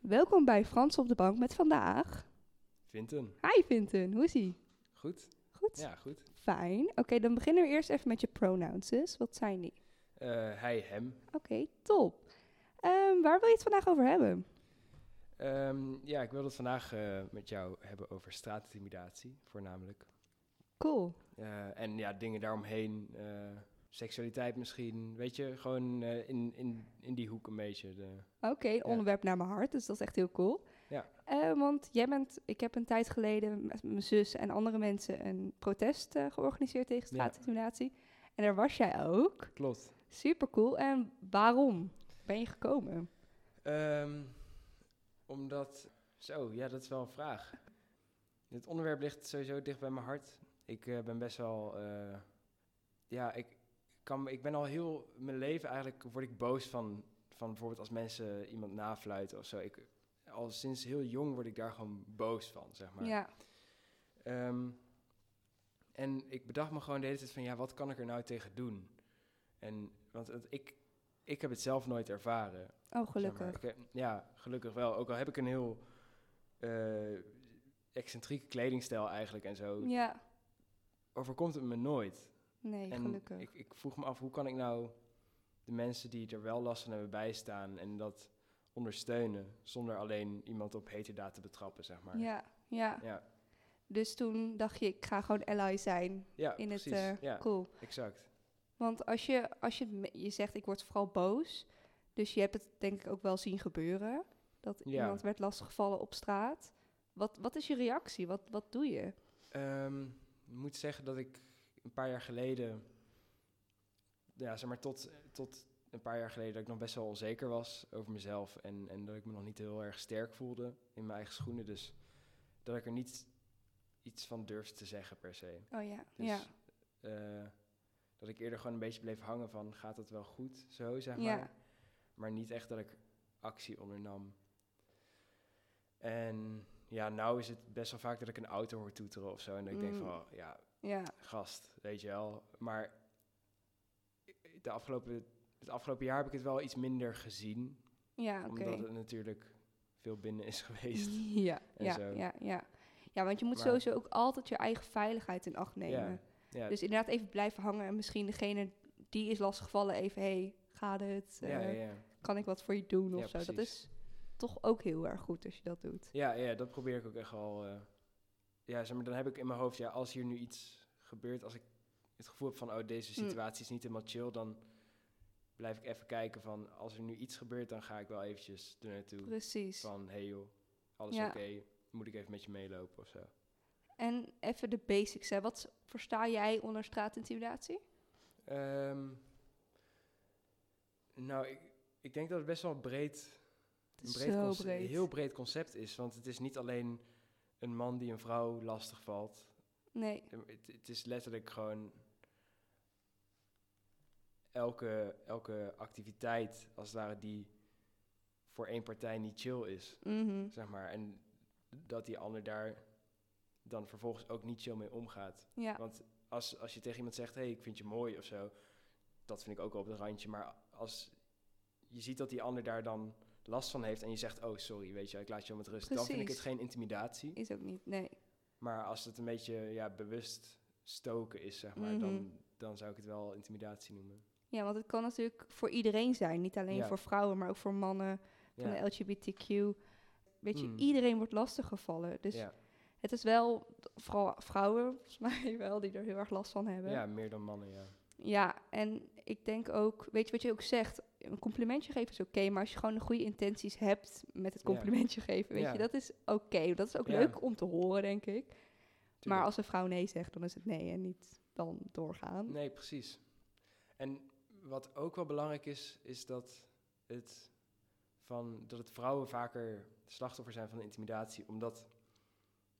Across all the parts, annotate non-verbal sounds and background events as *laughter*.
Welkom bij Frans op de bank met vandaag. Vinten. Hi Vinten, hoe is ie? Goed? Goed? Ja, goed. Fijn. Oké, dan beginnen we eerst even met je pronouns. dus. Wat zijn die? Eh, hij, hem. Oké, top. Ehm, waar wil je het vandaag over hebben? Ehm, ja, ik wil het vandaag eh, met jou hebben over straatintimidatie, voornamelijk. Cool. Eh, en ja, dingen daaromheen. eh, seksualiteit misschien. Weet je, gewoon eh, in, in, in die hoek een beetje. De, Oké, een onderwerp naar mijn hart, dus dat is echt heel cool. Ja. Eh, want jij bent, ik heb een tijd geleden met mijn zus en andere mensen een protest eh, georganiseerd tegen Ja. straatintimidatie. En daar was jij ook. Klopt. Super cool. En waarom ben je gekomen? Ehm, omdat. Zo, ja, dat is wel een vraag. Dit onderwerp ligt sowieso dicht bij mijn hart. Ik eh, ben best wel. eh, ja, ik, kan, ik ben al heel mijn leven eigenlijk. word ik boos van. Van bijvoorbeeld als mensen iemand nafluiten of zo. Ik, al sinds heel jong word ik daar gewoon boos van, zeg maar. Ja, Ehm, en ik bedacht me gewoon de hele tijd van, ja, wat kan ik er nou tegen doen? En, want het- ik, ik heb het zelf nooit ervaren. oh Zeg gelukkig. maar, ik heb- ja, gelukkig wel. Ook al heb ik een heel eh, excentrieke kledingstijl eigenlijk en zo, Ja, overkomt het me nooit. nee, en gelukkig. ik, ik vroeg me af, hoe kan ik nou de mensen die er wel last van hebben bijstaan en dat ondersteunen, zonder alleen iemand op heterdaad te betrappen, zeg maar. ja, ja. ja, Dus toen dacht je, ik ga gewoon ally zijn Ja, in precies. het eh, ja, cool. exact. Want als je, als je, me- je zegt, ik word vooral boos. Dus je hebt het denk ik ook wel zien gebeuren. Dat Ja. iemand werd lastiggevallen op straat. Wat, wat is je reactie? Wat, wat doe je? Ehm, ik moet zeggen dat ik een paar jaar geleden, ja, zeg maar tot, tot een paar jaar geleden, dat ik nog best wel onzeker was over mezelf en, en dat ik me nog niet heel erg sterk voelde in mijn eigen schoenen. Dus dat ik er niet iets van durfde te zeggen per se. Oh ja, Dus ja, eh, dat ik eerder gewoon een beetje bleef hangen van gaat dat wel goed, zo zeg Ja. maar. Maar niet echt dat ik actie ondernam. En ja, nou is het best wel vaak dat ik een auto hoor toeteren of zo. En dat ik denk Mm. van, oh, ja, ja, gast, weet je wel. Maar de afgelopen, het afgelopen jaar heb ik het wel iets minder gezien. ja, Ah, oké. Omdat het natuurlijk veel binnen is *laughs* *laughs* geweest. Ja, en ja, zo. ja, ja. Ja, want je moet Maar- sowieso ook altijd je eigen veiligheid in acht nemen. Ja, Dus inderdaad even blijven hangen. En misschien degene die is lastiggevallen even... hey, gaat het? ja, Eh, ja, ja. Kan ik wat voor je doen? Of Ja, zo. Dat precies. is toch ook heel erg goed als je dat doet. Ja, ja, dat probeer ik ook echt wel. eh, ja, zeg maar, dan heb ik in mijn hoofd, ja, als hier nu iets gebeurt, als ik het gevoel heb van, oh, deze Mm. situatie is niet helemaal chill, dan blijf ik even kijken van, als er nu iets gebeurt, dan ga ik wel eventjes er naartoe. Precies. Van, hey joh, alles Ja. oké, moet ik even met je meelopen of zo. En even de basics. Hè. Wat versta jij onder straatintimidatie? Ehm, nou, ik, ik denk dat het best wel breed Het is een breed zo conce- breed. heel breed concept is. Want het is niet alleen een man die een vrouw lastig valt. Nee, Ja, maar Het, het is letterlijk gewoon elke, elke activiteit, als het ware, die voor één partij niet chill is, mhm. zeg maar. En dat die ander daar dan vervolgens ook niet chill mee omgaat. ja, Want als, als je tegen iemand zegt, hé, hey, ik vind je mooi of zo, dat vind ik ook wel op het randje. Maar als je ziet dat die ander daar dan last van heeft en je zegt, oh, sorry, weet je, ik laat je wel met rust. Dan vind ik het Precies. geen intimidatie. is ook niet. Nee, Maar als het een beetje ja, bewust stoken is, zeg maar, Mhm. dan, dan zou ik het wel intimidatie noemen. ja, want het kan natuurlijk voor iedereen zijn. Niet alleen Ja. voor vrouwen, maar ook voor mannen, van Ja, de LGBTQ. Weet je, Mm. iedereen wordt lastiggevallen. Dus ja. het is wel, vooral vrouwen *laughs* volgens mij wel, die er heel erg last van hebben. ja, meer dan mannen, ja. Ja, en ik denk ook, weet je wat je ook zegt? Een complimentje geven is oké, maar als je gewoon de goede intenties hebt met het Ja. complimentje geven, weet Ja. je, dat is oké. Dat is ook Ja. leuk om te horen, denk ik. Maar Tuurlijk. als een vrouw nee zegt, dan is het nee en niet dan doorgaan. Nee, precies. En wat ook wel belangrijk is, is dat het, van, dat het vrouwen vaker slachtoffer zijn van intimidatie, omdat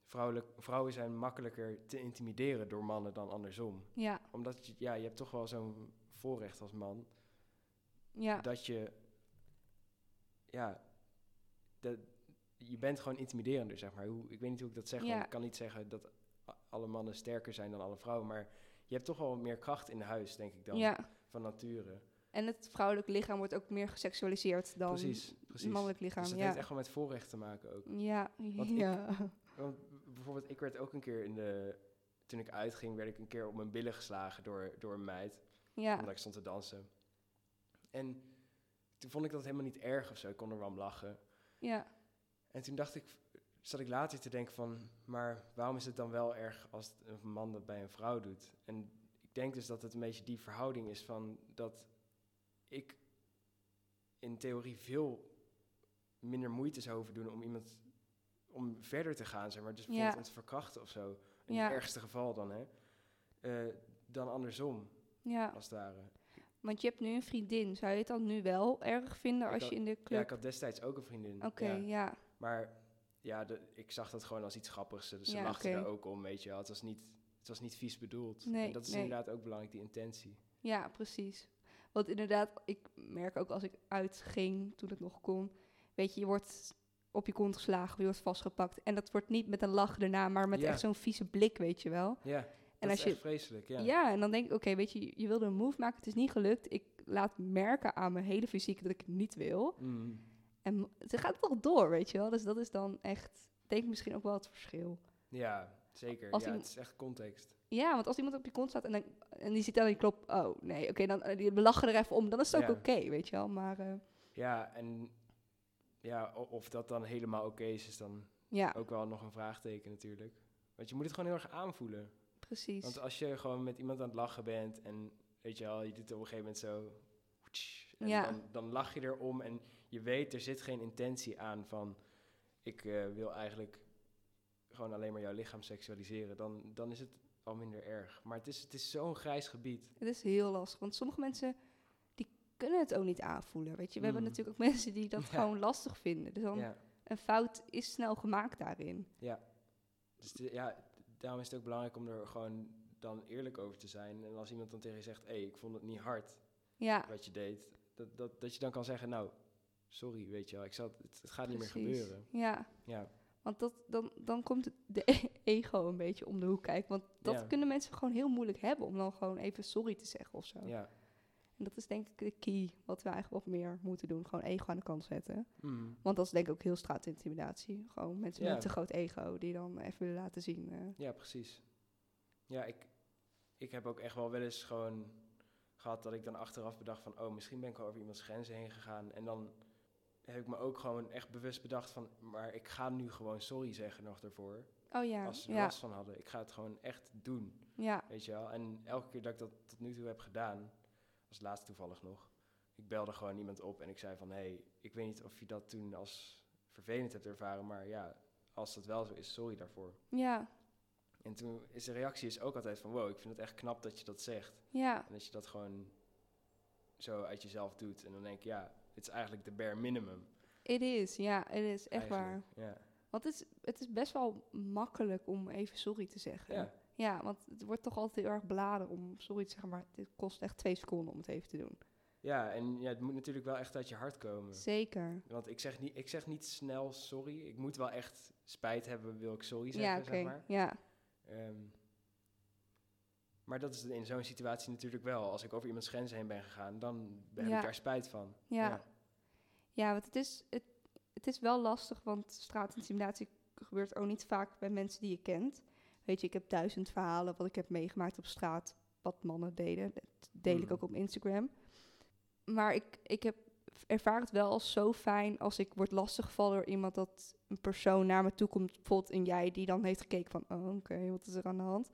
vrouwelijk, vrouwen zijn makkelijker te intimideren door mannen dan andersom. Ja, Omdat je, ja, je hebt toch wel zo'n voorrecht als man ja, dat je, ja, dat, je bent gewoon intimiderender, zeg maar. Hoe, ik weet niet hoe ik dat zeg, want Ja. ik kan niet zeggen dat a- alle mannen sterker zijn dan alle vrouwen, maar je hebt toch wel meer kracht in huis, denk ik dan, ja. van nature. En het vrouwelijk lichaam wordt ook meer geseksualiseerd dan precies, precies. mannelijk lichaam. Dus dat ja. heeft echt wel met voorrecht te maken ook. ja, Want ik- *laughs* ja. Want b- bijvoorbeeld, ik werd ook een keer in de... Toen ik uitging, werd ik een keer op mijn billen geslagen door, door een meid. ja. Omdat ik stond te dansen. En toen vond ik dat helemaal niet erg of zo. Ik kon er wel om lachen. Ja, En toen dacht ik, zat ik later te denken van... Maar waarom is het dan wel erg als het een man dat bij een vrouw doet? En ik denk dus dat het een beetje die verhouding is van... Dat ik in theorie veel minder moeite zou hoeven doen om iemand... Om verder te gaan, zeg maar. Dus Ja. bijvoorbeeld om te verkrachten of zo. In Ja. het ergste geval dan, hè. Eh, dan andersom, ja, als het ware. want je hebt nu een vriendin. Zou je het dan nu wel erg vinden Ik als had- je in de Ja, club... ik had destijds ook een vriendin. Oké, ja. ja. Maar ja, de- ik zag dat gewoon als iets grappigs. Dus Ze, ze Ja, lachten oké. er ook om, weet je wel. Het was niet, het was niet vies bedoeld. Nee, en dat is nee. inderdaad ook belangrijk, die intentie. Ja, precies. Want inderdaad, ik merk ook als ik uitging toen het nog kon. Weet je, je wordt op je kont geslagen, of je wordt vastgepakt. En dat wordt niet met een lach erna, maar met Ja. echt zo'n vieze blik, weet je wel. Ja, En dat als is je. echt vreselijk. Ja. Ja. en dan denk ik, oké, weet je, je wilde een move maken, het is niet gelukt. Ik laat merken aan mijn hele fysiek dat ik het niet wil. Mm, En m- ze gaat toch door, weet je wel. Dus dat is dan echt, denk ik misschien ook wel het verschil. ja, zeker. Als ja, iemand- het is echt context. Ja, want als iemand op je kont staat en, dan, en die ziet dan je klop, oh nee, oké, dan eh, die- we lachen er even om, dan is het ook Ja. oké, weet je wel. Maar eh, Ja, en ja, o- of dat dan helemaal oké is, is dan ja, ook wel nog een vraagteken natuurlijk. Want je moet het gewoon heel erg aanvoelen. precies. Want eh, als je gewoon met iemand aan het lachen bent en weet je wel, je doet op een gegeven moment zo. tsch, En Ja. dan, dan lach je erom en je weet, er zit geen intentie aan van ik eh, wil eigenlijk gewoon alleen maar jouw lichaam seksualiseren. Dan, dan is het al minder erg. Maar het is, het is zo'n grijs gebied. Het is heel lastig, want sommige mensen die kunnen het ook niet aanvoelen. Weet je, we hebben Mm. natuurlijk ook *laughs* mensen die dat Ja. gewoon lastig vinden. Dus dan Ja. een fout is snel gemaakt daarin. Dus de- ja, daarom is het ook belangrijk om er gewoon dan eerlijk over te zijn. En als iemand dan tegen je zegt, hé, hey, ik vond het niet hard Ja, wat je deed, dat, dat, dat je dan kan zeggen, nou, sorry, weet je wel, ik zat, het, het gaat niet meer precies. gebeuren. Ja, Ja. want dat, dan, dan komt het- de *laughs* e- ego een beetje om de hoek kijken. Want dat Ja. kunnen mensen gewoon heel moeilijk hebben om dan gewoon even sorry te zeggen of zo. Ja. En dat is denk ik de key wat we eigenlijk wat meer moeten doen. Gewoon ego aan de kant zetten. Mm. Want dat is denk ik ook heel straatintimidatie. Gewoon mensen Ja. met een te groot ego die dan even willen laten zien. eh, Ja, precies. Ja, ik, ik heb ook echt wel wel eens gewoon gehad dat ik dan achteraf bedacht van... oh, misschien ben ik wel over iemands grenzen heen gegaan. En dan heb ik me ook gewoon echt bewust bedacht van... maar ik ga nu gewoon sorry zeggen nog daarvoor. oh ja, als ze er ja, last van hadden. Ik ga het gewoon echt doen, ja. weet je wel. En elke keer dat ik dat tot nu toe heb gedaan... als laatst toevallig nog... ik belde gewoon iemand op en ik zei van... hé, hey, ik weet niet of je dat toen als vervelend hebt ervaren... maar ja, als dat wel zo is, sorry daarvoor. Ja, En toen is de reactie is ook altijd van wow, ik vind het echt knap dat je dat zegt. ja. En dat je dat gewoon zo uit jezelf doet. En dan denk ik, ja, het is eigenlijk de bare minimum. Het is, ja, het is echt waar. eigenlijk. Ja. Want het is, het is best wel makkelijk om even sorry te zeggen. Ja. Ja, want het wordt toch altijd heel erg beladen om sorry te zeggen, maar het kost echt twee seconden om het even te doen. ja, en ja, het moet natuurlijk wel echt uit je hart komen. Zeker. Want ik zeg, niet, ik zeg niet snel sorry. Ik moet wel echt spijt hebben, wil ik sorry zeggen, Ja, oké. zeg maar. Ja, Ehm, maar dat is in zo'n situatie natuurlijk wel. Als ik over iemands grenzen heen ben gegaan, dan heb Ja. ik daar spijt van. ja. ja. want het is, het, het is wel lastig, want straatintimidatie gebeurt ook niet vaak bij mensen die je kent. Weet je, ik heb duizend verhalen wat ik heb meegemaakt op straat, wat mannen deden. Dat deel ik Mhm. ook op Instagram. Maar ik, ik heb, ervaar het wel als zo fijn als ik word lastiggevallen door iemand dat een persoon naar me toe komt, bijvoorbeeld een jij, die dan heeft gekeken van, oh, oké, wat is er aan de hand?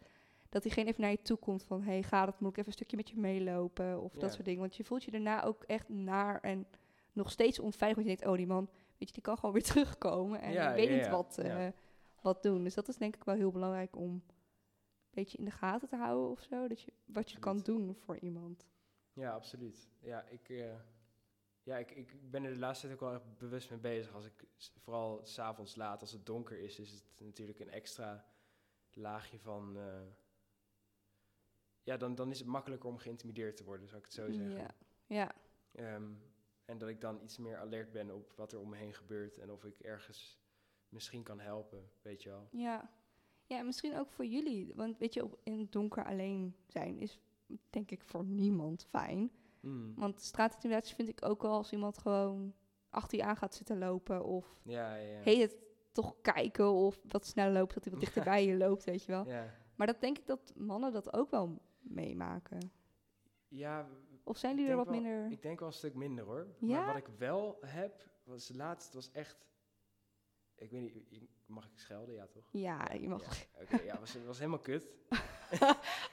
Dat diegene even naar je toe komt van, hey, gaat het, moet ik even een stukje met je meelopen? Of Ja. dat soort dingen. Want je voelt je daarna ook echt naar en nog steeds onveilig. Want je denkt, oh, die man, weet je, die kan gewoon weer *laughs* terugkomen. En Ja, ik weet ja, niet ja, wat, ja. eh, wat doen. Dus dat is denk ik wel heel belangrijk om een beetje in de gaten te houden of zo. Dat je, wat je kan doen voor iemand. Ja, absoluut. Ja, ik, eh, ja ik, ik ben er de laatste tijd ook wel echt bewust mee bezig. Als ik, s- vooral s'avonds laat, als het donker is, is het natuurlijk een extra laagje van... eh, ja, dan, dan is het makkelijker om geïntimideerd te worden, zou ik het zo zeggen. Ja, ja, Ehm, en dat ik dan iets meer alert ben op wat er om me heen gebeurt en of ik ergens misschien kan helpen, weet je wel. ja. Ja, en misschien ook voor jullie. Want weet je, op- in het donker alleen zijn is denk ik voor niemand fijn. Mm. Want straatintimidatie vind ik ook wel als iemand gewoon achter je aan gaat zitten lopen. Of Ja, ja. ja. heet het toch kijken of wat sneller loopt, dat hij wat dichterbij je loopt, weet je wel. Ja. Maar dat denk ik dat mannen dat ook wel meemaken. ja, Of zijn Ik jullie er wat denk wel- minder... ik denk wel een stuk minder hoor. Ja? Maar wat ik wel heb, was laatst was echt. Ik weet niet, ik- mag ik schelden? Ja, toch? Ja, je mag... Ja, Oké, ja, was, was helemaal kut. *laughs*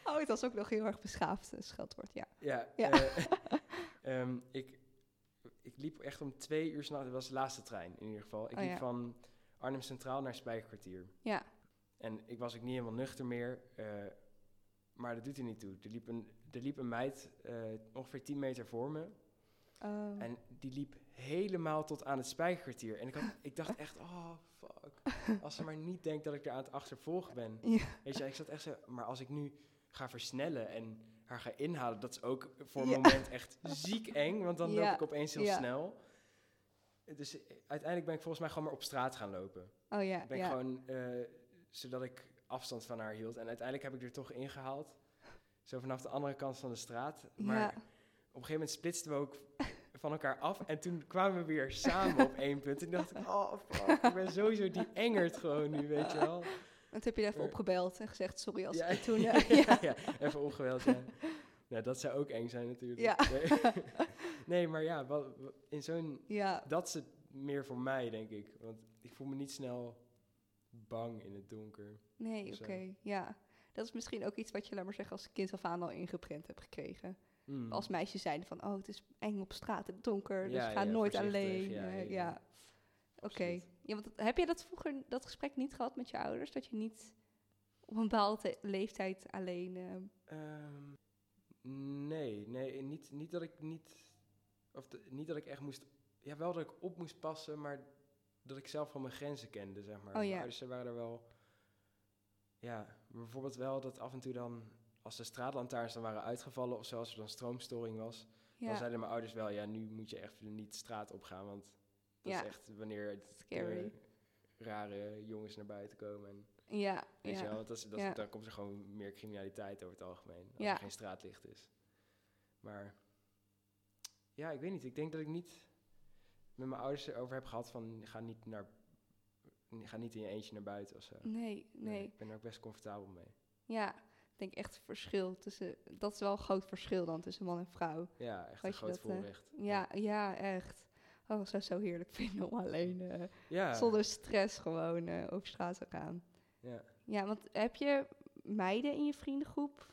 Oh, het was ook nog heel erg beschaafd, een scheldwoord, ja. Ja. Ja. eh, *laughs* ehm, ik, ik liep echt om twee uur s'nachts. Dat was de laatste trein in ieder geval. Ik Oh, liep ja. van Arnhem Centraal naar Spijkerkwartier. Ja. En ik was ook niet helemaal nuchter meer. eh, maar dat doet er niet toe. Er liep een, er liep een meid eh, ongeveer 10 meter voor me. Oh. En die liep helemaal tot aan het spijkerkwartier. En ik, had, ik dacht echt, oh fuck. Als ze maar niet denkt dat ik er aan het achtervolgen *laughs* ben. Ja. Weet je, ik zat echt zo, maar als ik nu ga versnellen en haar ga inhalen, dat is ook voor een Ja. moment echt ziek eng. Want dan Ja, loop ik opeens heel ja. snel. Dus eh, uiteindelijk ben ik volgens mij gewoon maar op straat gaan lopen. Oh ja, Ik ben ja. gewoon, eh, zodat ik afstand van haar hield. En uiteindelijk heb ik er toch ingehaald. Zo vanaf de andere kant van de straat. Maar ja. op een gegeven moment splitsten we ook van elkaar af. En toen kwamen we weer samen op één punt. En dacht ik, oh fuck, ik ben sowieso die engert gewoon nu, weet je wel. En toen heb je er even Eh. opgebeld en gezegd, sorry als Ja, ik je toen... *laughs* ja, eh, ja, *laughs* ja. even opgeweld, ja. Nou, dat zou ook eng zijn natuurlijk. Ja. Nee, *laughs* nee, maar ja, wel- wel- in zo'n... ja, Dat is het meer voor mij, denk ik. Want ik voel me niet snel bang in het donker. nee, Of oké, zo. ja. Dat is misschien ook iets wat je, laat maar zeggen, als kind af aan al ingeprent hebt gekregen. Hmm. Als meisje zijnde van, oh, het is eng op straat, het donker, dus Ja, ga ja, nooit voorzichtig, alleen. ja, eh, ja, ja, ja. oké. Absoluut. Ja, want dat- heb je dat vroeger, dat gesprek niet gehad met je ouders? Dat je niet op een bepaalde leeftijd alleen... eh, Ehm, nee, nee, niet, niet dat ik niet, of de- niet dat ik echt moest, ja, wel dat ik op moest passen, maar dat ik zelf van mijn grenzen kende, zeg maar. Oh, ja. Mijn ouders waren er wel, ja, bijvoorbeeld wel dat af en toe dan, als de straatlantaarns dan waren uitgevallen of zoals er dan stroomstoring was, dan ja, zeiden mijn ouders wel, ja, nu moet je echt niet de straat opgaan, want dat Ja. is echt wanneer het scary. rare jongens naar buiten komen. En, Ja, weet je wel, ja. want dat is, dat Ja. dan komt er gewoon meer criminaliteit over het algemeen. Als Ja. er geen straatlicht is. Maar ja, ik weet niet. Ik denk dat ik niet met mijn ouders erover heb gehad van ga niet naar ga niet in je eentje naar buiten of zo. Nee, nee. Ik ben daar ook best comfortabel mee. Ja, ik denk echt het verschil tussen. Dat is wel een groot verschil dan tussen man en vrouw. Ja, echt Had een je groot dat, eh, voorrecht. Ja, ja, echt. Oh, ik zou het zo heerlijk *laughs* vinden om alleen eh, ja. zonder stress gewoon eh, over straat te gaan. Ja. Ja, want heb je meiden in je vriendengroep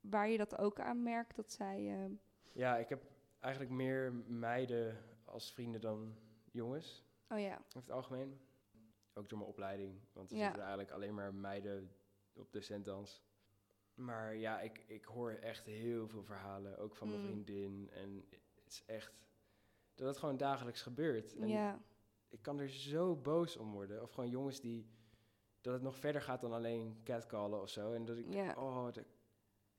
waar je dat ook aan merkt dat zij. eh, ja, ik heb eigenlijk meer meiden als vrienden dan jongens. oh ja, over het algemeen. Ook door mijn opleiding, want er Ja. zitten eigenlijk alleen maar meiden op docentdans. Maar ja, ik, ik hoor echt heel veel verhalen, ook van mijn Mm. vriendin. En het is echt dat het gewoon dagelijks gebeurt. En ja, ik kan er zo boos om worden. Of gewoon jongens die, dat het nog verder gaat dan alleen catcallen of zo. En dat ik, ja. oh, dat,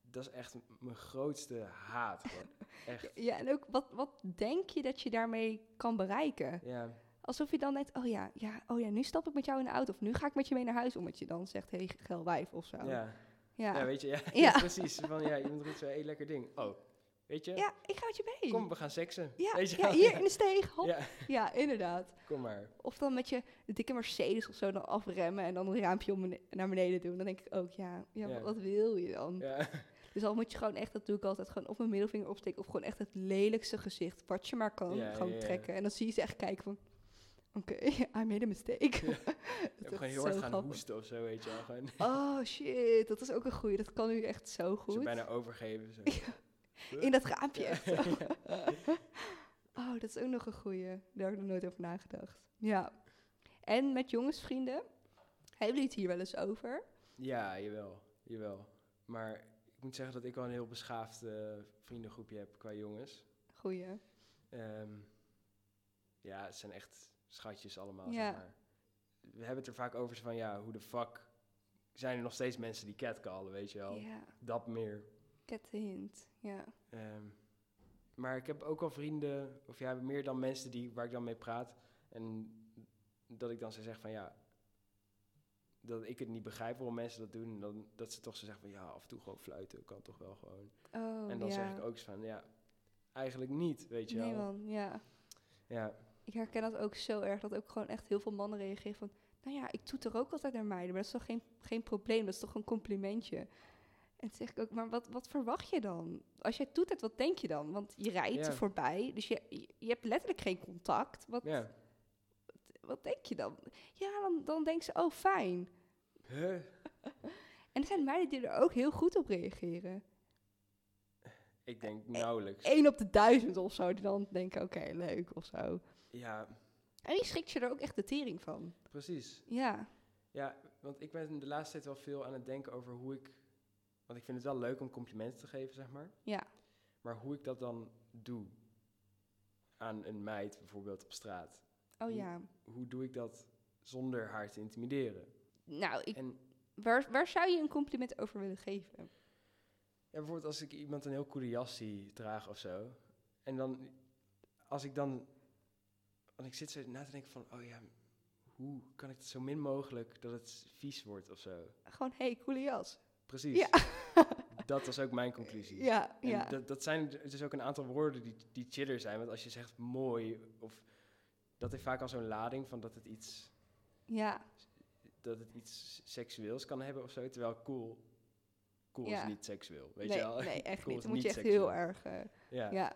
dat is echt m- mijn grootste haat. *laughs* gewoon. echt, Ja, en ook wat, wat denk je dat je daarmee kan bereiken? ja. Alsof je dan denkt, oh ja, ja, oh ja, nu stap ik met jou in de auto of nu ga ik met je mee naar huis, omdat je dan zegt, hé, hey, geil wijf of zo. ja. ja. Ja, weet je, ja, *laughs* Ja. precies. Van ja, iemand roept zo, hé, lekker ding. Oh, weet je, Ja, ik ga met je mee. kom, we gaan seksen. ja, weet je ja, wel? *laughs* hier in de steeg. Hop. Ja. Ja, inderdaad. kom maar. Of dan met je dikke Mercedes of zo dan afremmen en dan een raampje om bene- naar beneden doen. Dan denk ik ook, ja, ja, Ja. wat wil je dan? *laughs* Ja, Dus dan moet je gewoon echt, dat doe ik altijd, gewoon op mijn middelvinger opsteken. Of gewoon echt het lelijkste gezicht, wat je maar kan, Ja, gewoon ja, ja. trekken. En dan zie je ze echt kijken van, oké, *laughs* I made a *laughs* mistake. of dat gewoon is heel zo hard gaan grappig. hoesten of zo, weet je wel. Gewoon Oh shit, dat is ook een goeie. Dat kan nu echt zo ze goed. bijna overgeven. Zo. In dat raampje Ja. echt zo. *laughs* Oh, dat is ook nog een goeie. Daar heb ik nog nooit over nagedacht. Ja. En met jongensvrienden, hebben jullie het hier wel eens over? Ja, jawel, jawel. Maar ik moet zeggen dat ik wel een heel beschaafd eh, vriendengroepje heb qua jongens. Goeie. Ehm, ja, het zijn echt schatjes allemaal, Ja. zeg maar. We hebben het er vaak over zo van, ja, hoe de fuck zijn er nog steeds mensen die catcallen, weet je wel. Ja, Dat meer. get the hint. Ja. Ehm, maar ik heb ook al vrienden, of ja, meer dan mensen die, waar ik dan mee praat. En dat ik dan zo zeg van ja, dat ik het niet begrijp waarom mensen dat doen. En dan, dat ze toch zo zeggen van ja, af en toe gewoon fluiten, kan toch wel gewoon. Oh, en dan ja. zeg ik ook zo van ja, eigenlijk niet, weet je Nee wel. man, ja. Ja, ik herken dat ook zo erg, dat ook gewoon echt heel veel mannen reageren van... Nou ja, ik toeter ook altijd naar meiden, maar dat is toch geen, geen probleem? Dat is toch een complimentje? En toen zeg ik ook, maar wat, wat verwacht je dan? Als jij toetert, wat denk je dan? Want je rijdt Ja. er voorbij, dus je, je, je hebt letterlijk geen contact. Wat, Ja. wat denk je dan? Ja, dan, dan denk ze, oh fijn. Huh? En er zijn meiden die er ook heel goed op reageren. Ik Eh, denk nauwelijks. Eén op de duizend of zo, die dan denken, oké, leuk of zo. Ja, En die schrikt je er ook echt de tering van. precies. Ja, Ja, want ik ben de laatste tijd wel veel aan het denken over hoe ik... Want ik vind het wel leuk om complimenten te geven, zeg maar. ja, Maar hoe ik dat dan doe aan een meid bijvoorbeeld op straat. oh Hoe- ja. Hoe doe ik dat zonder haar te intimideren? Nou, ik, En waar, waar zou je een compliment over willen geven? Ja, bijvoorbeeld als ik iemand een heel coole jas zie draag of zo. En dan, als ik dan, want ik zit zo na te denken van, oh ja, hoe kan ik het zo min mogelijk dat het vies wordt of zo. Gewoon, hé, hey, coole jas. Precies. Ja. Dat was ook mijn conclusie. Ja, En ja. dat, dat zijn dus ook een aantal woorden die, die chiller zijn. Want als je zegt mooi, of dat heeft vaak al zo'n lading van dat het iets, Ja, dat het iets seksueels kan hebben of zo. Terwijl cool, cool Ja. is niet seksueel, weet nee, je wel. nee, echt *laughs* Cool niet. is Dan moet je echt niet heel seksueel. erg... eh, ja. ja.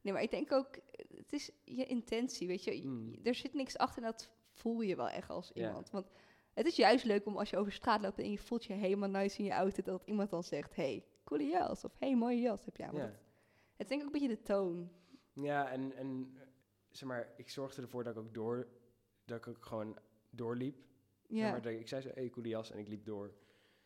Nee, maar ik denk ook, eh, het is je intentie, weet je. Je- Mm. Er zit niks achter en dat voel je wel echt als Ja. iemand. Want het is juist leuk om als je over straat loopt en je voelt je helemaal nice in je auto, dat iemand dan zegt, hey, coole jas. Of hey, mooie jas heb je aan. Want ja. dat- Het is denk ik ook een beetje de toon. Ja, en, en eh, zeg maar, ik zorgde ervoor dat ik ook door, dat ik ook gewoon doorliep. Ja. Zeg maar, dat ik, ik zei zo, hey, coole jas, en ik liep door.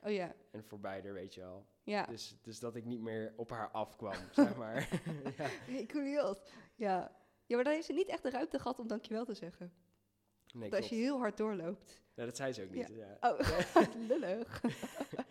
oh ja, En voorbij er, weet je wel. ja. Dus, dus dat ik niet meer op haar afkwam, *laughs* zeg *laughs* maar. ja. Hey, coole jas. Ja. Ja, maar dan heeft ze niet echt de ruimte gehad om dankjewel te zeggen. Nee, Want klopt. als je heel hard doorloopt. Nou, dat zei ze ook niet. Ja. Oh, *laughs* lullig.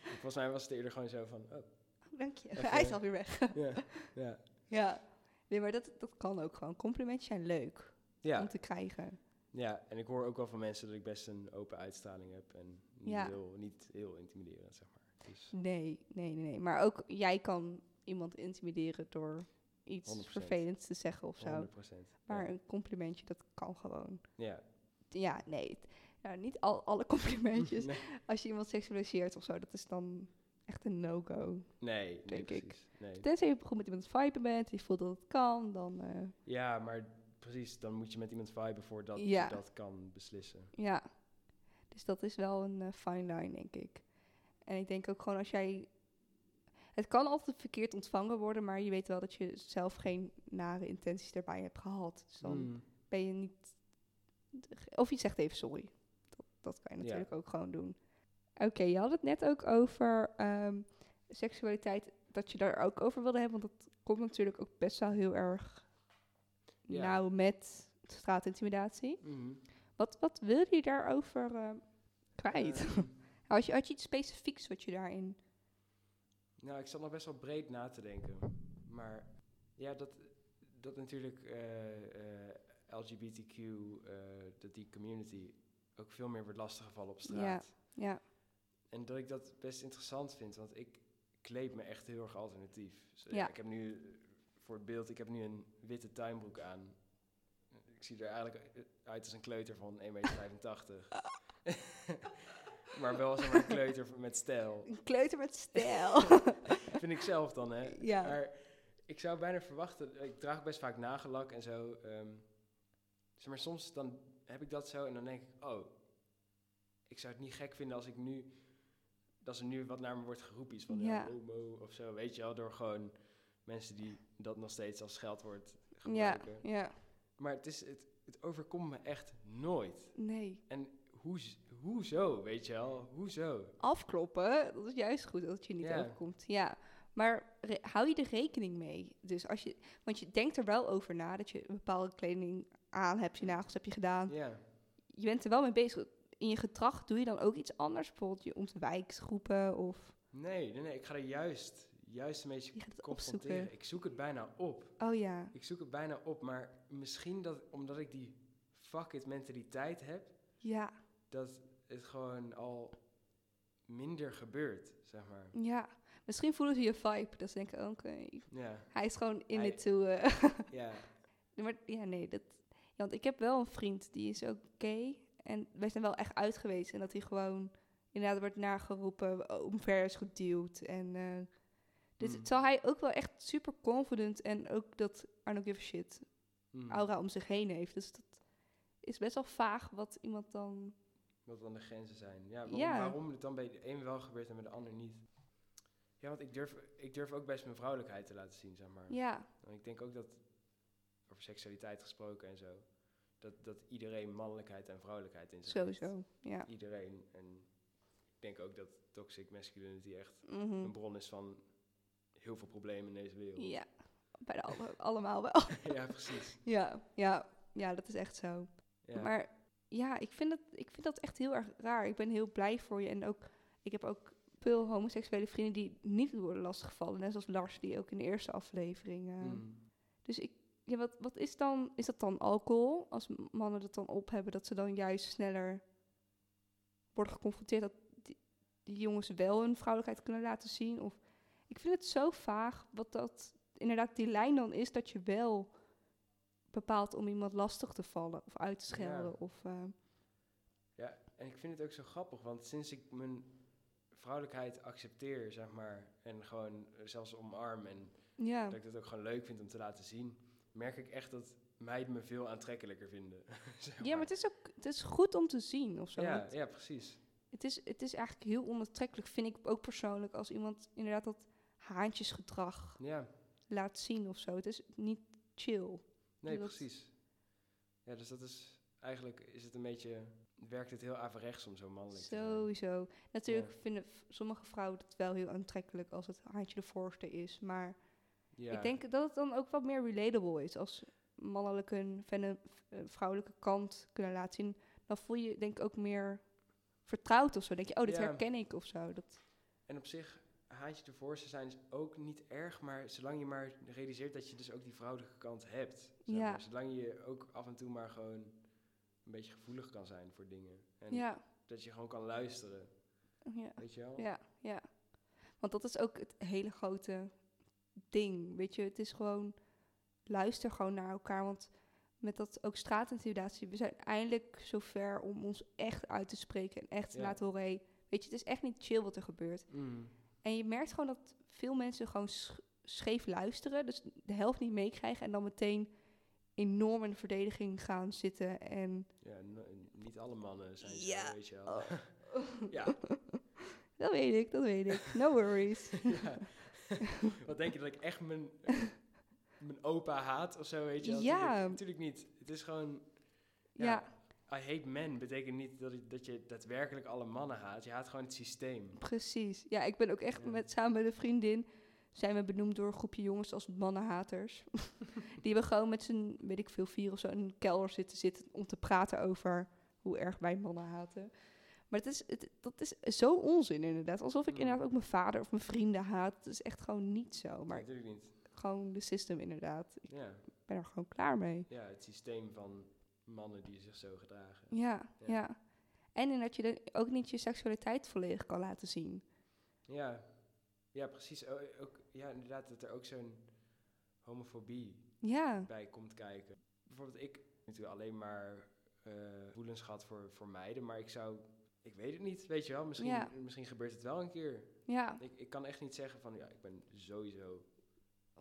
Volgens mij was het eerder gewoon zo van, *laughs* oh, Oh, Dank je. Even- Hij is alweer weg. ja, ja. ja. Nee, maar dat, dat kan ook gewoon. Complimentjes zijn leuk om Ja, te krijgen. ja, en ik hoor ook wel van mensen dat ik best een open uitstraling heb. En niet, Ja. heel, niet heel intimiderend, zeg maar. Dus Nee, nee, nee, nee. Maar ook jij kan iemand intimideren door iets 100%. vervelends te zeggen of zo. 100 Maar Ja. een complimentje, dat kan gewoon. ja. *laughs* Ja, nee. het- Nou, niet al, alle complimentjes. *laughs* Nee. Als je iemand seksualiseert of zo, dat is dan echt een no-go. Nee, nee, Denk ik. precies. Nee. Tenzij je goed met iemand viben bent, je voelt dat het kan, dan eh, Ja, maar precies, dan moet je met iemand viben voordat Ja. je dat kan beslissen. ja. Dus dat is wel een eh, fine line, denk ik. En ik denk ook gewoon als jij... Het kan altijd verkeerd ontvangen worden, maar je weet wel dat je zelf geen nare intenties daarbij hebt gehad. Dus dan Hmm. Mm. ben je niet... Of je zegt even sorry. Dat, dat kan je Ja. natuurlijk ook gewoon doen. Oké, je had het net ook over ehm, seksualiteit, dat je daar ook over wilde hebben. Want dat komt natuurlijk ook best wel heel erg Ja. nauw met straatintimidatie. Mhm. Wat, wat wilde je daarover ehm, *laughs* kwijt? Ehm, had, je, had je iets specifieks wat je daarin... nou, ik zat nog best wel breed na te denken. Maar ja, dat, dat natuurlijk eh, eh, LGBTQ, eh, dat die community ook veel meer wordt lastiggevallen op straat. Ja, En dat ik dat best interessant vind, want ik kleed me echt heel erg alternatief. Dus, eh, Ja. Ik heb nu, eh, voor het beeld, ik heb nu een witte tuinbroek aan. Ik zie er eigenlijk eh, uit als een kleuter van *laughs* 1,85 meter. *laughs* maar wel zeg maar een kleuter van- met stijl. een kleuter met *laughs* stijl. *laughs* Vind ik zelf dan, hè? Ja. Maar ik zou bijna verwachten, eh, ik draag best vaak nagelak en zo. ehm, zeg maar soms dan heb ik dat zo en dan denk ik, oh, ik zou het niet gek vinden als ik nu, dat er nu wat naar me wordt geroepen. Iets van ja. Ja. homo of zo, weet je wel, door gewoon mensen die dat nog steeds als scheldwoord ja, gebruiken. ja. Maar het, is, het, het overkomt me echt nooit. Nee. Hoe, hoezo, weet je wel, hoezo? afkloppen, dat is juist goed dat het je niet Ja. overkomt. Ja, maar re- hou je er rekening mee? Dus als je, want je denkt er wel over na dat je een bepaalde kleding aan hebt, je nagels heb je gedaan. Ja, Je bent er wel mee bezig. In je gedrag doe je dan ook iets anders, bijvoorbeeld je ontwijkt groepen of. nee, nee, nee, ik ga er juist, juist een beetje Je gaat het confronteren. opzoeken. Ik zoek het bijna op. Oh ja, Ik zoek het bijna op, maar misschien dat omdat ik die fuck it mentaliteit heb, ja, dat het gewoon al minder gebeurt, zeg maar. ja. Misschien voelen ze je vibe, dat ze denken, oké, Ja, hij is gewoon in Hij- het toe. eh. *laughs* ja, maar ja, nee, dat. Ja, want ik heb wel een vriend, die is ook gay. En wij zijn wel echt uit geweest. En dat hij gewoon inderdaad wordt nageroepen, oh, omver is geduwd. En eh, dus Mm. het zal hij ook wel echt super confident en ook dat I don't give a shit Mm. aura om zich heen heeft. Dus dat is best wel vaag wat iemand dan... Wat dan de grenzen zijn. Ja, waarom, Ja. waarom het dan bij de een wel gebeurt en bij de ander niet. Ja, want ik durf, ik durf ook best mijn vrouwelijkheid te laten zien, zeg maar. Ja, En ik denk ook dat, over seksualiteit gesproken en zo, dat, dat iedereen mannelijkheid en vrouwelijkheid in zich heeft. sowieso. Ja. Iedereen. En ik denk ook dat toxic masculinity echt Mhm. een bron is van heel veel problemen in deze wereld. Ja, bijna alle- allemaal wel. *laughs* Ja, precies. ja, ja, ja, dat is echt zo. Ja. Maar ja, ik vind, dat, ik vind dat echt heel erg raar. Ik ben heel blij voor je. En ook, ik heb ook veel homoseksuele vrienden die niet worden lastiggevallen. Net zoals Lars, die ook in de eerste aflevering. eh, Mm. Dus ik, ja, wat, wat is dan, is dat dan alcohol? Als m- mannen dat dan op hebben, dat ze dan juist sneller worden geconfronteerd dat die, die jongens wel hun vrouwelijkheid kunnen laten zien? Of ik vind het zo vaag wat dat inderdaad die lijn dan is dat je wel bepaalt om iemand lastig te vallen of uit te schelden. Ja. Of, eh, Ja, en ik vind het ook zo grappig, want sinds ik mijn vrouwelijkheid accepteer, zeg maar, en gewoon eh, zelfs omarm en ja. dat ik dat ook gewoon leuk vind om te laten zien, merk ik echt dat meiden me veel aantrekkelijker vinden. *laughs* zeg ja, maar het is ook het is goed om te zien of zo. ja, want ja, precies. Het is, het is eigenlijk heel onaantrekkelijk, vind ik ook persoonlijk, als iemand inderdaad dat haantjesgedrag Ja, laat zien of zo. Het is niet chill. nee, Dat- precies. Ja, dus dat is eigenlijk is het een beetje werkt het heel averechts om zo mannelijk te zijn. Sowieso. Natuurlijk vinden v- sommige vrouwen het wel heel aantrekkelijk als het haantje de voorste is. Maar Ja. ik denk dat het dan ook wat meer relatable is. Als mannelijke en venne- eh, vrouwelijke kant kunnen laten zien, dan voel je je denk ik ook meer vertrouwd of zo. Denk je, oh, dit Ja. herken ik of zo. Dat, En op zich, haantje ervoor te zijn is ook niet erg, maar zolang je maar realiseert dat je dus ook die vrouwelijke kant hebt. zeg Ja. maar. Zolang je ook af en toe maar gewoon een beetje gevoelig kan zijn voor dingen. En ja. dat je gewoon kan luisteren, ja. weet je wel? Ja, ja. Want dat is ook het hele grote ding, weet je. Het is gewoon, luister gewoon naar elkaar. Want met dat ook straatintimidatie, we zijn eindelijk zover om ons echt uit te spreken. En echt te Ja. laten horen, hey, weet je, het is echt niet chill wat er gebeurt. Mm. En je merkt gewoon dat veel mensen gewoon sch- scheef luisteren. Dus de helft niet meekrijgen en dan meteen enorm in de verdediging gaan zitten. En Ja, no- niet alle mannen zijn Ja. Oh. zo, weet je wel. *laughs* ja, dat weet ik, dat weet ik. No worries. ja. *laughs* Wat denk je, dat ik echt mijn, mijn opa haat of zo, weet je wel? Ja. Tuurlijk- Natuurlijk niet. Het is gewoon... ja. Ja. I hate men betekent niet dat, ik- dat je daadwerkelijk alle mannen haat. Je haat gewoon het systeem. Precies. Ja, ik ben ook echt Ja. met, samen met een vriendin zijn we benoemd door een groepje jongens als mannenhaters. *laughs* die hebben gewoon met z'n, weet ik veel, vier of zo in een kelder zitten, zitten om te praten over hoe erg wij mannen haten. Maar het is, het, dat is zo onzin inderdaad. Alsof ik Mm. inderdaad ook mijn vader of mijn vrienden haat. Het is echt gewoon niet zo. Maar natuurlijk niet. gewoon de system inderdaad. Ik Ja. ben er gewoon klaar mee. ja, het systeem van mannen die zich zo gedragen. Ja, Ja. ja. En in dat je dan ook niet je seksualiteit volledig kan laten zien. Ja, ja precies. O- Ook, ja, inderdaad, dat er ook zo'n homofobie Ja, bij komt kijken. Bijvoorbeeld, ik heb natuurlijk alleen maar eh gevoelens gehad voor, voor meiden, maar ik zou. Ik weet het niet, weet je wel. Misschien, Ja. misschien gebeurt het wel een keer. ja, 100%. Ik, ik kan echt niet zeggen van ja, ik ben sowieso,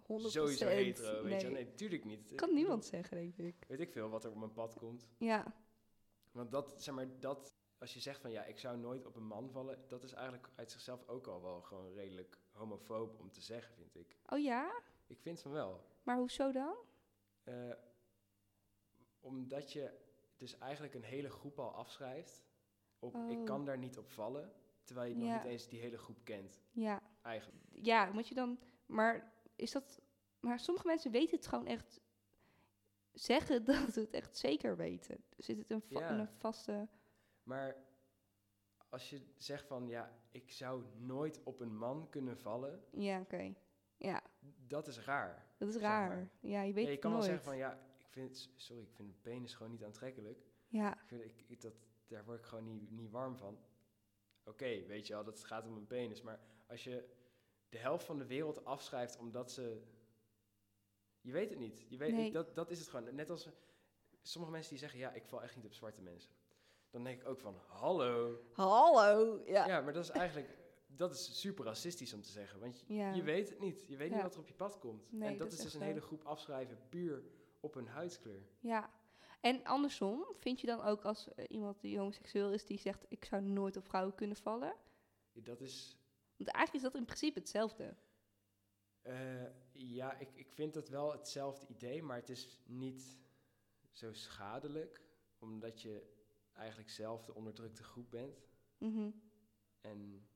sowieso hetero. Weet je? wel. Nee, tuurlijk niet. Kan niemand zeggen, denk ik. Weet ik veel wat er op mijn pad komt. Ja, Want dat, zeg maar, dat, als je zegt van ja, ik zou nooit op een man vallen, dat is eigenlijk uit zichzelf ook al wel gewoon redelijk homofoob om te zeggen, vind ik. oh ja? Ik vind van wel. Maar hoezo dan? Eh, omdat je dus eigenlijk een hele groep al afschrijft op ik Oh. kan daar niet op vallen, terwijl je nog Ja. niet eens die hele groep kent, Ja, eigenlijk. ja, moet je dan... Maar is dat... Maar sommige mensen weten het gewoon echt... Zeggen *laughs* dat ze het echt zeker weten. Zit het een, va- Ja. in een vaste... Maar als je zegt van ja, ik zou nooit op een man kunnen vallen, Ja, oké. Ja, dat is raar. dat is Zeg raar. maar. Ja, je weet Ja, je het kan nooit. wel zeggen van ja, ik vind, sorry, ik vind een penis gewoon niet aantrekkelijk. Ja, Ik vind, ik, ik- dat, daar word ik gewoon niet, niet warm van. Oké, weet je wel, dat het gaat om een penis. Maar als je de helft van de wereld afschrijft omdat ze... Je weet het niet. Je weet, Nee. dat, dat is het gewoon. Net als sommige mensen die zeggen, ja, ik val echt niet op zwarte mensen. Dan denk ik ook van, hallo. Hallo. Ja. Ja, Ja. maar dat is eigenlijk, dat is super racistisch om te zeggen. Want je, je weet het niet. Je weet Ja. niet wat er op je pad komt. Nee, en dat, dat is is echt dus een zo. hele groep afschrijven puur op hun huidskleur. Ja. En andersom, vind je dan ook als eh, iemand die homoseksueel is die zegt ik zou nooit op vrouwen kunnen vallen? Dat is, Want eigenlijk is dat in principe hetzelfde. eh, ja, ik, ik vind dat wel hetzelfde idee, maar het is niet zo schadelijk. Omdat je eigenlijk zelf de onderdrukte groep bent. Mhm. En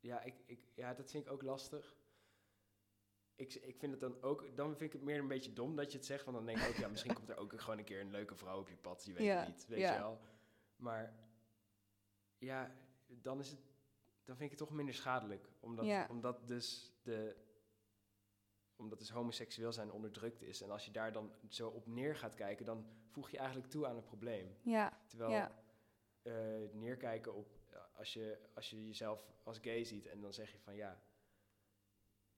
ja, ik, ik, ja, dat vind ik ook lastig. Ik, z- ik vind het dan ook, dan vind ik het meer een beetje dom dat je het zegt. Want dan denk ik ook, ja, misschien komt er ook gewoon een keer een leuke vrouw op je pad. Je weet Ja, het niet, weet ja. je wel. Maar ja, dan is het, dan vind ik het toch minder schadelijk. Omdat, Ja. omdat dus de, omdat dus homoseksueel zijn onderdrukt is. En als je daar dan zo op neer gaat kijken, dan voeg je eigenlijk toe aan het probleem. Ja. Terwijl Ja. eh, neerkijken op ja, als je, als je jezelf als gay ziet en dan zeg je van ja,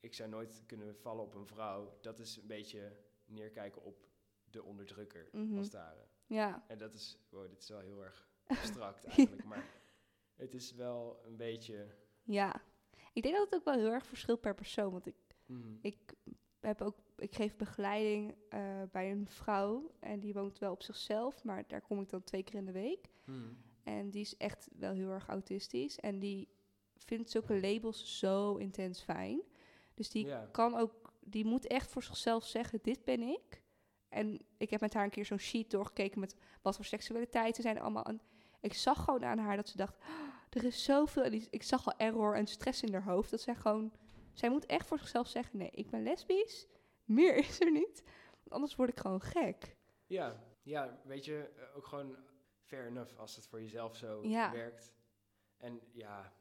ik zou nooit kunnen vallen op een vrouw. Dat is een beetje neerkijken op de onderdrukker Mhm. als het ware. Ja. En dat is, wow, dit is wel heel erg *laughs* abstract eigenlijk, maar het is wel een beetje. Ja. Ik denk dat het ook wel heel erg verschilt per persoon. Want ik, mm, ik, heb ook, ik geef begeleiding eh, bij een vrouw. En die woont wel op zichzelf, maar daar kom ik dan twee keer in de week. mm, En die is echt wel heel erg autistisch. En die vindt zulke labels zo intens fijn. Dus die Ja. kan ook, die moet echt voor zichzelf zeggen: dit ben ik. En ik heb met haar een keer zo'n sheet doorgekeken met wat voor seksualiteiten zijn er allemaal. En ik zag gewoon aan haar dat ze dacht: "Ah, er is zoveel. En die- ik zag al error en stress in haar hoofd. Dat zij gewoon, zij moet echt voor zichzelf zeggen: nee, ik ben lesbisch. Meer is er niet. Want anders word ik gewoon gek. ja, ja, weet je, eh, ook gewoon fair enough als het voor jezelf zo Ja. werkt. En ja,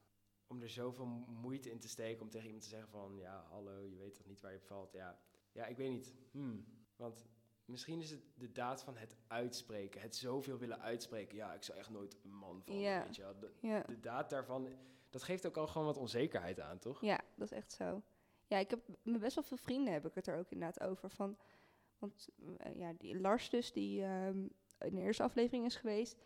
om er zoveel moeite in te steken om tegen iemand te zeggen van ja, hallo, je weet toch niet waar je op valt. Ja, ja ik weet niet. Hmm. Want misschien is het de daad van het uitspreken, het zoveel willen uitspreken. Ja, ik zou echt nooit op een man vallen, Ja. weet je wel. De, Ja. de daad daarvan, dat geeft ook al gewoon wat onzekerheid aan, toch? Ja, dat is echt zo. Ja, ik heb met best wel veel vrienden heb ik het er ook inderdaad over. Van, want eh, ja, die Lars dus, die ehm, in de eerste aflevering is geweest,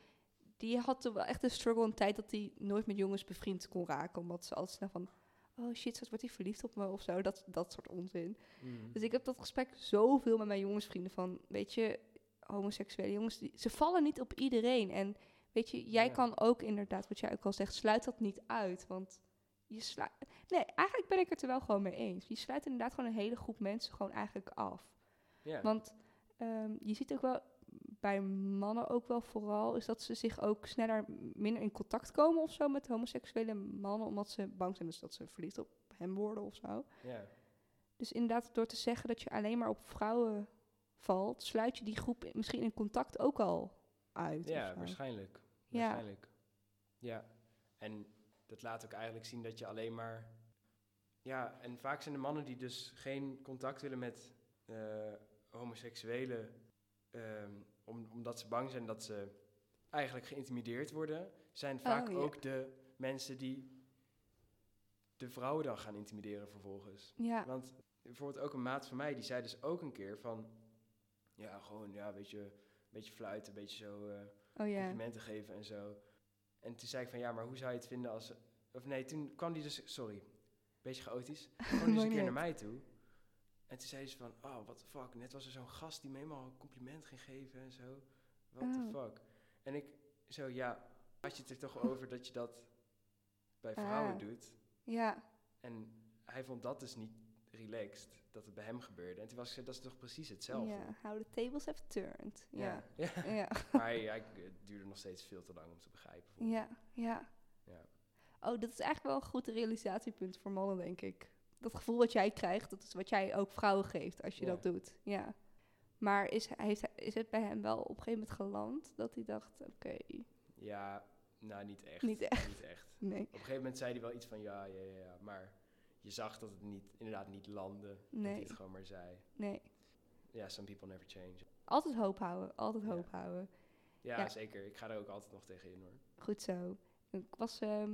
die had toch wel echt een struggle een tijd dat hij nooit met jongens bevriend kon raken. Omdat ze altijd snel van, oh shit, straks wordt hij verliefd op me of zo. Dat, dat soort onzin. Hmm. Dus ik heb dat gesprek zoveel met mijn jongensvrienden van, weet je, homoseksuele jongens, die, ze vallen niet op iedereen. En weet je, jij Ja. kan ook inderdaad, wat jij ook al zegt, sluit dat niet uit. Want je sluit, nee, eigenlijk ben ik het er wel gewoon mee eens. Je sluit inderdaad gewoon een hele groep mensen gewoon eigenlijk af. Ja. Want ehm, je ziet ook wel bij mannen ook wel vooral, is dat ze zich ook sneller minder in contact komen of zo met homoseksuele mannen, omdat ze bang zijn dus dat ze verliefd op hem worden of zo. ja. Dus inderdaad, door te zeggen dat je alleen maar op vrouwen valt, sluit je die groep in- misschien in contact ook al uit. Ja, of zo. waarschijnlijk. Ja. Waarschijnlijk. Ja. En dat laat ook eigenlijk zien dat je alleen maar. Ja, en vaak zijn de mannen die dus geen contact willen met eh, homoseksuelen, ehm, om, omdat ze bang zijn dat ze eigenlijk geïntimideerd worden, zijn vaak Oh, ja. ook de mensen die de vrouwen dan gaan intimideren vervolgens. Ja, Want bijvoorbeeld ook een maat van mij, die zei dus ook een keer van... Ja, gewoon, ja, weet je, een beetje fluiten, een beetje zo eh, oh ja. complimenten geven en zo. En toen zei ik van, ja, maar hoe zou je het vinden als... Of nee, toen kwam die dus, sorry, beetje *laughs* chaotisch. Kwam die dus Maakt een niet keer naar uit. mij toe. En toen zei ze van, oh, what the fuck, net was er zo'n gast die me helemaal een compliment ging geven en zo. What the Oh. fuck. En ik, zo, ja, had je het er toch over dat je dat bij vrouwen Ah. doet? Ja, En hij vond dat dus niet relaxed, dat het bij hem gebeurde. En toen was ik zo, dat is toch precies hetzelfde? ja. How the tables have turned. Ja, *laughs* Ja. ja, maar hij, hij- het duurde nog steeds veel te lang om te begrijpen. vond ik. ja, ja. Ja. Oh, dat is eigenlijk wel een goed realisatiepunt voor mannen, denk ik. Dat gevoel wat jij krijgt, dat is wat jij ook vrouwen geeft als je Ja. dat doet. Ja. Maar is, hij- heeft, hij- is het bij hem wel op een gegeven moment geland dat hij dacht, oké, Ja, nou niet echt. Niet echt. Niet echt. nee, Op een gegeven moment zei hij wel iets van ja, ja, ja, ja. Maar je zag dat het niet, inderdaad niet landde. Dat hij Nee. het gewoon maar zei. nee. Ja, some people never change. Altijd hoop houden, altijd Ja. hoop houden. Ja, Ja. zeker. Ik ga er ook altijd nog tegen in hoor. Goed zo. Ik was, ehm,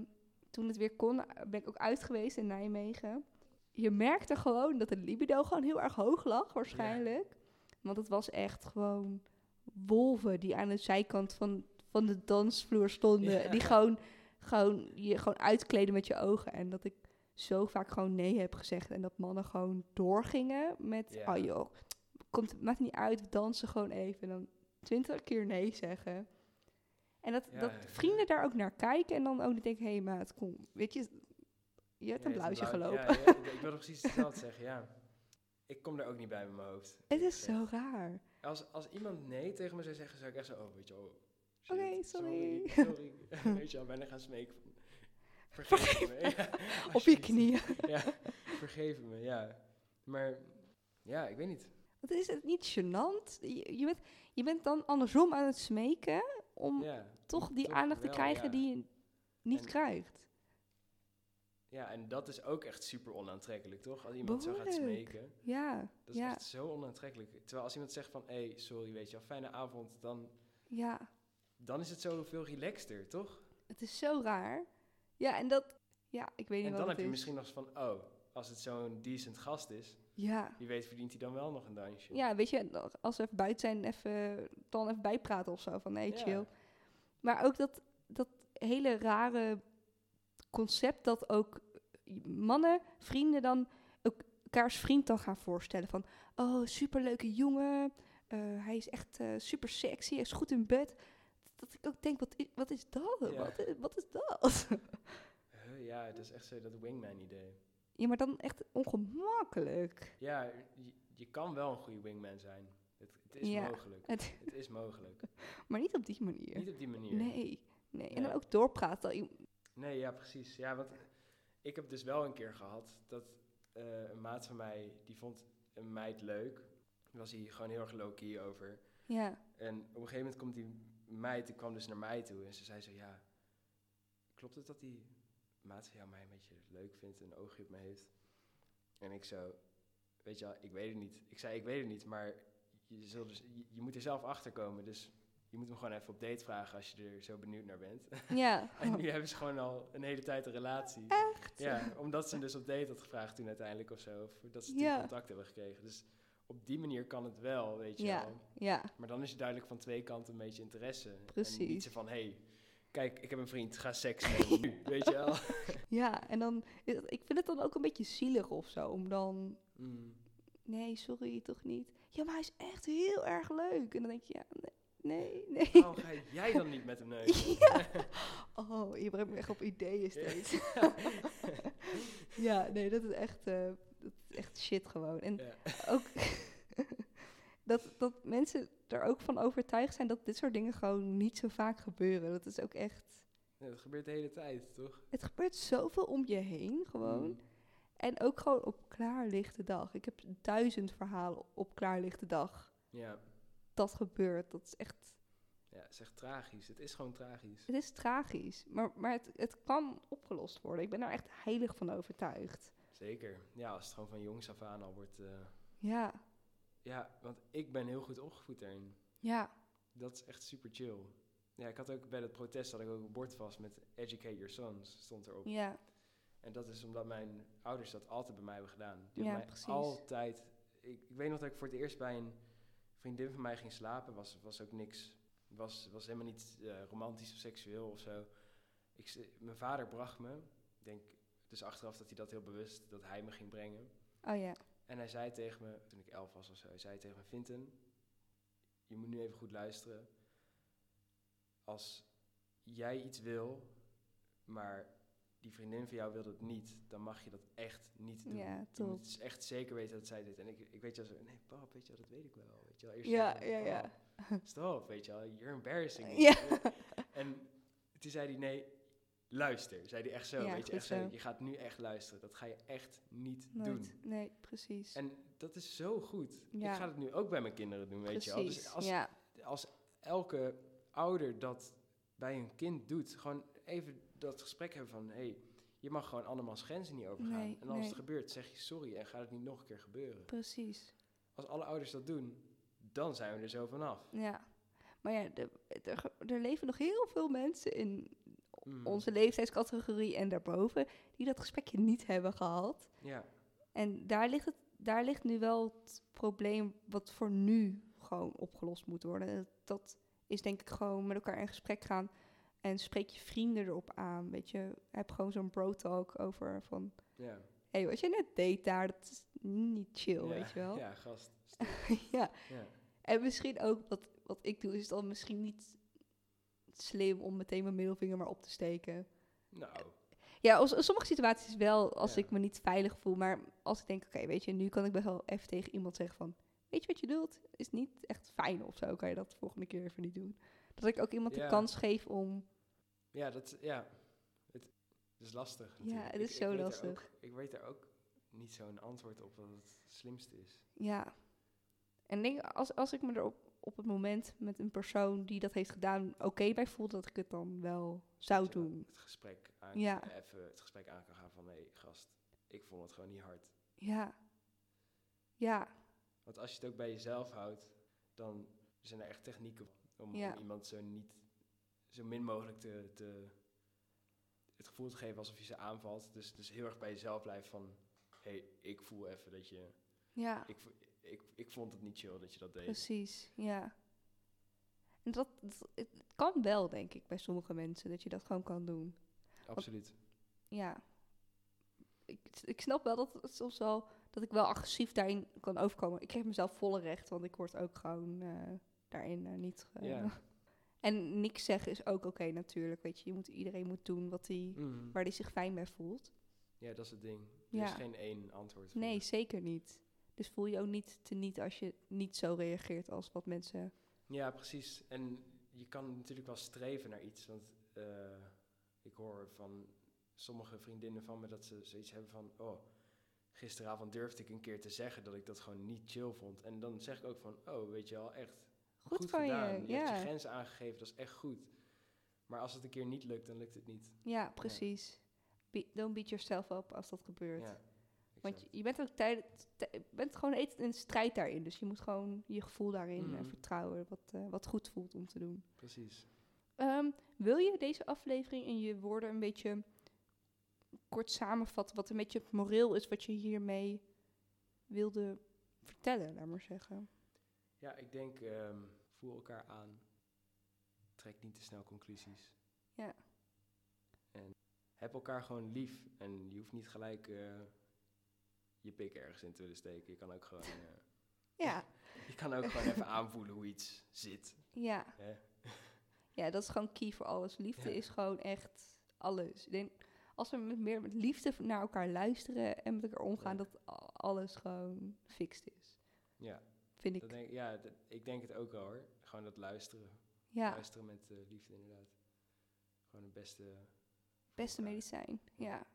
toen het weer kon, eh, ben ik ook uit geweest in Nijmegen. Je merkte gewoon dat de libido gewoon heel erg hoog lag, waarschijnlijk. Want het was echt gewoon wolven die aan de zijkant van, van de dansvloer stonden. Ja. Die gewoon, gewoon je gewoon uitkleden met je ogen. En dat ik zo vaak gewoon nee heb gezegd. En dat mannen gewoon doorgingen met... Ja. Oh joh, komt, maakt niet uit, we dansen gewoon even. En dan twintig keer nee zeggen. En dat, Ja, dat ja, ja. vrienden daar ook naar kijken. En dan ook niet denken, hé hey maat, kom. Weet je, je hebt een Ja, blauwtje gelopen. Ja, ja, ik, ik wil *laughs* precies hetzelfde zeggen, ja. Ik kom daar ook niet bij met mijn hoofd. Het eerlijk is gezegd. zo raar. Als, als iemand nee tegen me zou zeggen, zou ik echt zo, oh, weet je, oh, shit, Oké, sorry. *laughs* Sorry, sorry. *laughs* weet je wel, bijna gaan smeken van, vergeef me. *laughs* Ja, Op je alsjeblieft. knieën. *laughs* Ja, *laughs* vergeef me, ja. Maar, ja, ik weet niet. Wat is het niet gênant? Je, je bent, je bent dan andersom aan het smeken om Ja, toch die toch aandacht te wel, krijgen ja. die je niet En- krijgt. ja, en dat is ook echt super onaantrekkelijk, toch? Als iemand zo gaat Behoorlijk. smeken. Ja, Dat is Ja. echt zo onaantrekkelijk. Terwijl als iemand zegt van, hé, hey, sorry, weet je wel, fijne avond, dan, ja. dan is het zo veel relaxter, toch? Het is zo raar. Ja, en dat... Ja, ik weet niet En wat dan het heb je is. misschien nog eens van, oh, als het zo'n decent gast is, Ja. wie weet verdient hij dan wel nog een dansje. Ja, weet je, dat- als we even buiten zijn, even, dan even bijpraten of zo. Van, nee, Ja. chill. Maar ook dat, dat hele rare concept dat ook mannen, vrienden dan ook elkaars vriend dan gaan voorstellen. Van, oh, superleuke jongen. eh, hij is echt eh, super sexy. Hij is goed in bed. Dat ik ook denk, wat is, wat is dat? Ja. Wat, is, wat is dat? *laughs* Huh, ja, dat is echt zo dat wingman-idee. ja, maar dan echt ongemakkelijk. Ja, je, je kan wel een goede wingman zijn. Het, het is Ja. mogelijk. Het- Het is mogelijk. maar niet op die manier. Niet op die manier. Nee. nee. En dan Ja. ook doorpraten. I- Nee, ja, precies. Ja, want ik heb dus wel een keer gehad dat eh, een maat van mij, die vond een meid leuk. Daar was hij gewoon heel erg low-key over. Ja. En op een gegeven moment komt die meid, die kwam dus naar mij toe en ze zei zo, ja, klopt het dat die maat van jou mij een beetje leuk vindt en een oogje op me heeft? En ik zo, weet je wel, ik weet het niet. Ik zei, ik weet het niet, maar je, zult dus, je, je moet er zelf achter komen, dus je moet hem gewoon even op date vragen als je er zo benieuwd naar bent. *laughs* Ja. En nu hebben ze gewoon al een hele tijd een relatie. Echt? Ja, omdat ze hem dus op date had gevraagd toen uiteindelijk of zo. Of dat ze Ja. toen contact hebben gekregen. Dus op die manier kan het wel, weet je Ja. wel. Ja. Maar dan is het duidelijk van twee kanten een beetje interesse. En Precies. niet zo van, hé, hey, kijk, ik heb een vriend, ga seks *laughs* nemen nu, weet je wel. Ja, en dan... is het- Ik vind het dan ook een beetje zielig of zo, om dan... Mm. Nee, sorry, toch niet. Ja, maar hij is echt heel erg leuk. En dan denk je, ja, nee, nee. nee. Waarom ga jij dan niet met hem neuken? *laughs* Ja. *laughs* Oh, je brengt me echt op ideeën Ja. *laughs* steeds. Ja, nee, dat is echt, eh, dat is echt shit gewoon. En Ja. ook *laughs* dat, dat mensen er ook van overtuigd zijn dat dit soort dingen gewoon niet zo vaak gebeuren. Dat is ook echt... Ja, dat gebeurt de hele tijd, toch? Het gebeurt zoveel om je heen gewoon. Mm. En ook gewoon op klaarlichte dag. Ik heb duizend verhalen op klaarlichte dag. Ja. Dat gebeurt. Dat is echt. ja, het is echt tragisch. Het is gewoon tragisch. Het is tragisch. Maar, maar het, het kan opgelost worden. Ik ben daar echt heilig van overtuigd. Zeker. Ja, als het gewoon van jongs af aan al wordt... eh, Ja, Ja, want ik ben heel goed opgevoed daarin. ja, Dat is echt super chill. Ja, ik had ook bij dat protest had ik ook een bord vast met Educate Your Sons stond erop. ja, En dat is omdat mijn ouders dat altijd bij mij hebben gedaan. Ja, Die hebben mij precies. altijd. Ik, ik weet nog dat ik voor het eerst bij een vriendin van mij ging slapen. Was, was ook niks. Was, was helemaal niet eh, romantisch of seksueel of zo. Ik, s- mijn vader bracht me. Ik denk dus achteraf dat hij dat heel bewust, dat hij me ging brengen. oh ja. En hij zei tegen me, toen ik elf was of zo, hij zei tegen me, Vinten, je moet nu even goed luisteren. Als jij iets wil, maar die vriendin van jou wil dat niet, dan mag je dat echt niet doen. Ja, je top. moet dus echt zeker weten dat zij dit. En ik, ik weet je zo, nee pap, weet je wel, dat weet ik wel. Weet je wel. Eerst Ja, zeggen, ja, "Pap, ja. Stop, weet je wel, you're embarrassing. Ja. *laughs* En toen zei hij, nee, luister. Zei hij echt zo, Ja, weet je, goed echt zo. zo. Je gaat nu echt luisteren. Dat ga je echt niet doen. Nooit. Nee, precies. En dat is zo goed. Ja. Ik ga het nu ook bij mijn kinderen doen, weet precies. je wel. Dus als, ja. als elke ouder dat bij hun kind doet, gewoon even dat gesprek hebben van... hey, je mag gewoon andermans grenzen niet overgaan. Nee, en als nee. het gebeurt, zeg je sorry en gaat het niet nog een keer gebeuren. Precies. Als alle ouders dat doen, dan zijn we er zo vanaf. Ja. Maar ja, de- er, ge- er leven nog heel veel mensen in Mhm. onze leeftijdscategorie en daarboven die dat gesprekje niet hebben gehad. Ja, En daar ligt het daar ligt nu wel het probleem wat voor nu gewoon opgelost moet worden. En Dat is denk ik gewoon met elkaar in gesprek gaan en spreek je vrienden erop aan. Weet je, heb gewoon zo'n bro talk over van, Ja. hé, hey, wat je net deed daar, dat is niet chill, ja. weet je wel. *laughs* Ja, gast. *laughs* ja. Ja. En misschien ook wat, wat ik doe, is dan misschien niet slim om meteen mijn middelvinger maar op te steken. Nou, Ja, als, in sommige situaties wel, als Ja. ik me niet veilig voel. Maar als ik denk, oké, weet je, nu kan ik best wel even tegen iemand zeggen van... Weet je wat je doet? Is niet echt fijn of zo. Kan je dat de volgende keer even niet doen? Dat ik ook iemand Ja. de kans geef om... ja, dat, is- ja. Het, het is lastig. Ja, natuurlijk. het Ik- is ik zo weet er lastig. ook- ik weet er ook niet zo'n antwoord op wat het slimste is. Ja. En ik denk, als, als ik me er op, op het moment met een persoon die dat heeft gedaan... Oké bij voel, dat ik het dan wel zou Weet je wel, doen. Het gesprek aan, Ja. even het gesprek aan kan gaan van, nee, gast, ik vond het gewoon niet hard. Ja. Ja. Want als je het ook bij jezelf houdt, dan zijn er echt technieken om, Ja. om iemand zo niet, zo min mogelijk te, te, het gevoel te geven alsof je ze aanvalt. Dus, dus heel erg bij jezelf blijven van, hé, hey, ik voel even dat je, Ja. ik, vo- ik, ik vond het niet chill dat je dat deed. Precies, ja. En dat, dat- het kan wel, denk ik, bij sommige mensen, dat je dat gewoon kan doen. Absoluut. Ja. Ik, ik snap wel dat het soms wel, dat ik wel agressief daarin kan overkomen. Ik geef mezelf volle recht, want ik word ook gewoon eh, daarin eh, niet... ge- Ja. *laughs* En niks zeggen is ook oké, natuurlijk, weet je. je moet, iedereen moet doen wat die, Mhm. waar hij zich fijn bij voelt. Ja, dat is het ding. Er Ja. is geen één antwoord. voor. Nee, zeker niet. Dus voel je ook niet teniet als je niet zo reageert als wat mensen... Ja, precies. En je kan natuurlijk wel streven naar iets. Want eh, ik hoor van sommige vriendinnen van me dat ze zoiets hebben van... Oh, gisteravond durfde ik een keer te zeggen dat ik dat gewoon niet chill vond. En dan zeg ik ook van, oh, weet je wel, echt Goed, van gedaan. je, Je hebt je ja. grenzen aangegeven, dat is echt goed. Maar als het een keer niet lukt, dan lukt het niet. Ja, precies. Be- don't beat yourself up als dat gebeurt. Ja, Want exact. je, je bent ook tijd, tij- bent gewoon eten in strijd daarin. Dus je moet gewoon je gevoel daarin eh, Mhm. vertrouwen, wat, eh, wat goed voelt om te doen. precies. Ehm, wil je deze aflevering in je woorden een beetje kort samenvatten? Wat een beetje het moreel is wat je hiermee wilde vertellen, laat maar zeggen. Ja, ik denk, ehm, voel elkaar aan. Trek niet te snel conclusies. Ja. En heb elkaar gewoon lief. En je hoeft niet gelijk eh, je pik ergens in te willen steken. Je kan ook gewoon, eh, Ja, je kan ook gewoon *laughs* even aanvoelen hoe iets zit. ja. Hè? Ja, dat is gewoon key voor alles. Liefde Ja. is gewoon echt alles. Ik denk, als we met meer met liefde naar elkaar luisteren en met elkaar omgaan, Ja. dat a- alles gewoon fixed is. Ja, Vind ik. dat denk, ja dat- ik denk het ook wel hoor. Gewoon dat luisteren. ja, Luisteren met eh, liefde inderdaad. Gewoon het beste. eh, voor beste elkaar. medicijn. Ja.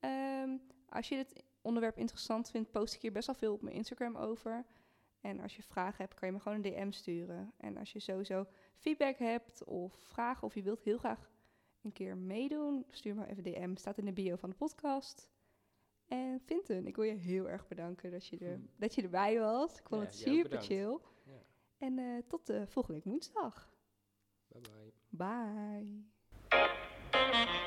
Ja. Ehm, als je dit onderwerp interessant vindt, post ik hier best wel veel op mijn Instagram over. En als je vragen hebt, kan je me gewoon een DM sturen. En als je sowieso feedback hebt of vragen of je wilt heel graag een keer meedoen, stuur me even DM. Staat in de bio van de podcast. En Vinten, ik wil je heel erg bedanken dat je, *laughs* er, Hm. dat je erbij was. Ik vond Ja, het jij ook super bedankt. chill. Ja. En eh, tot de volgende week woensdag. Bye bye. Bye.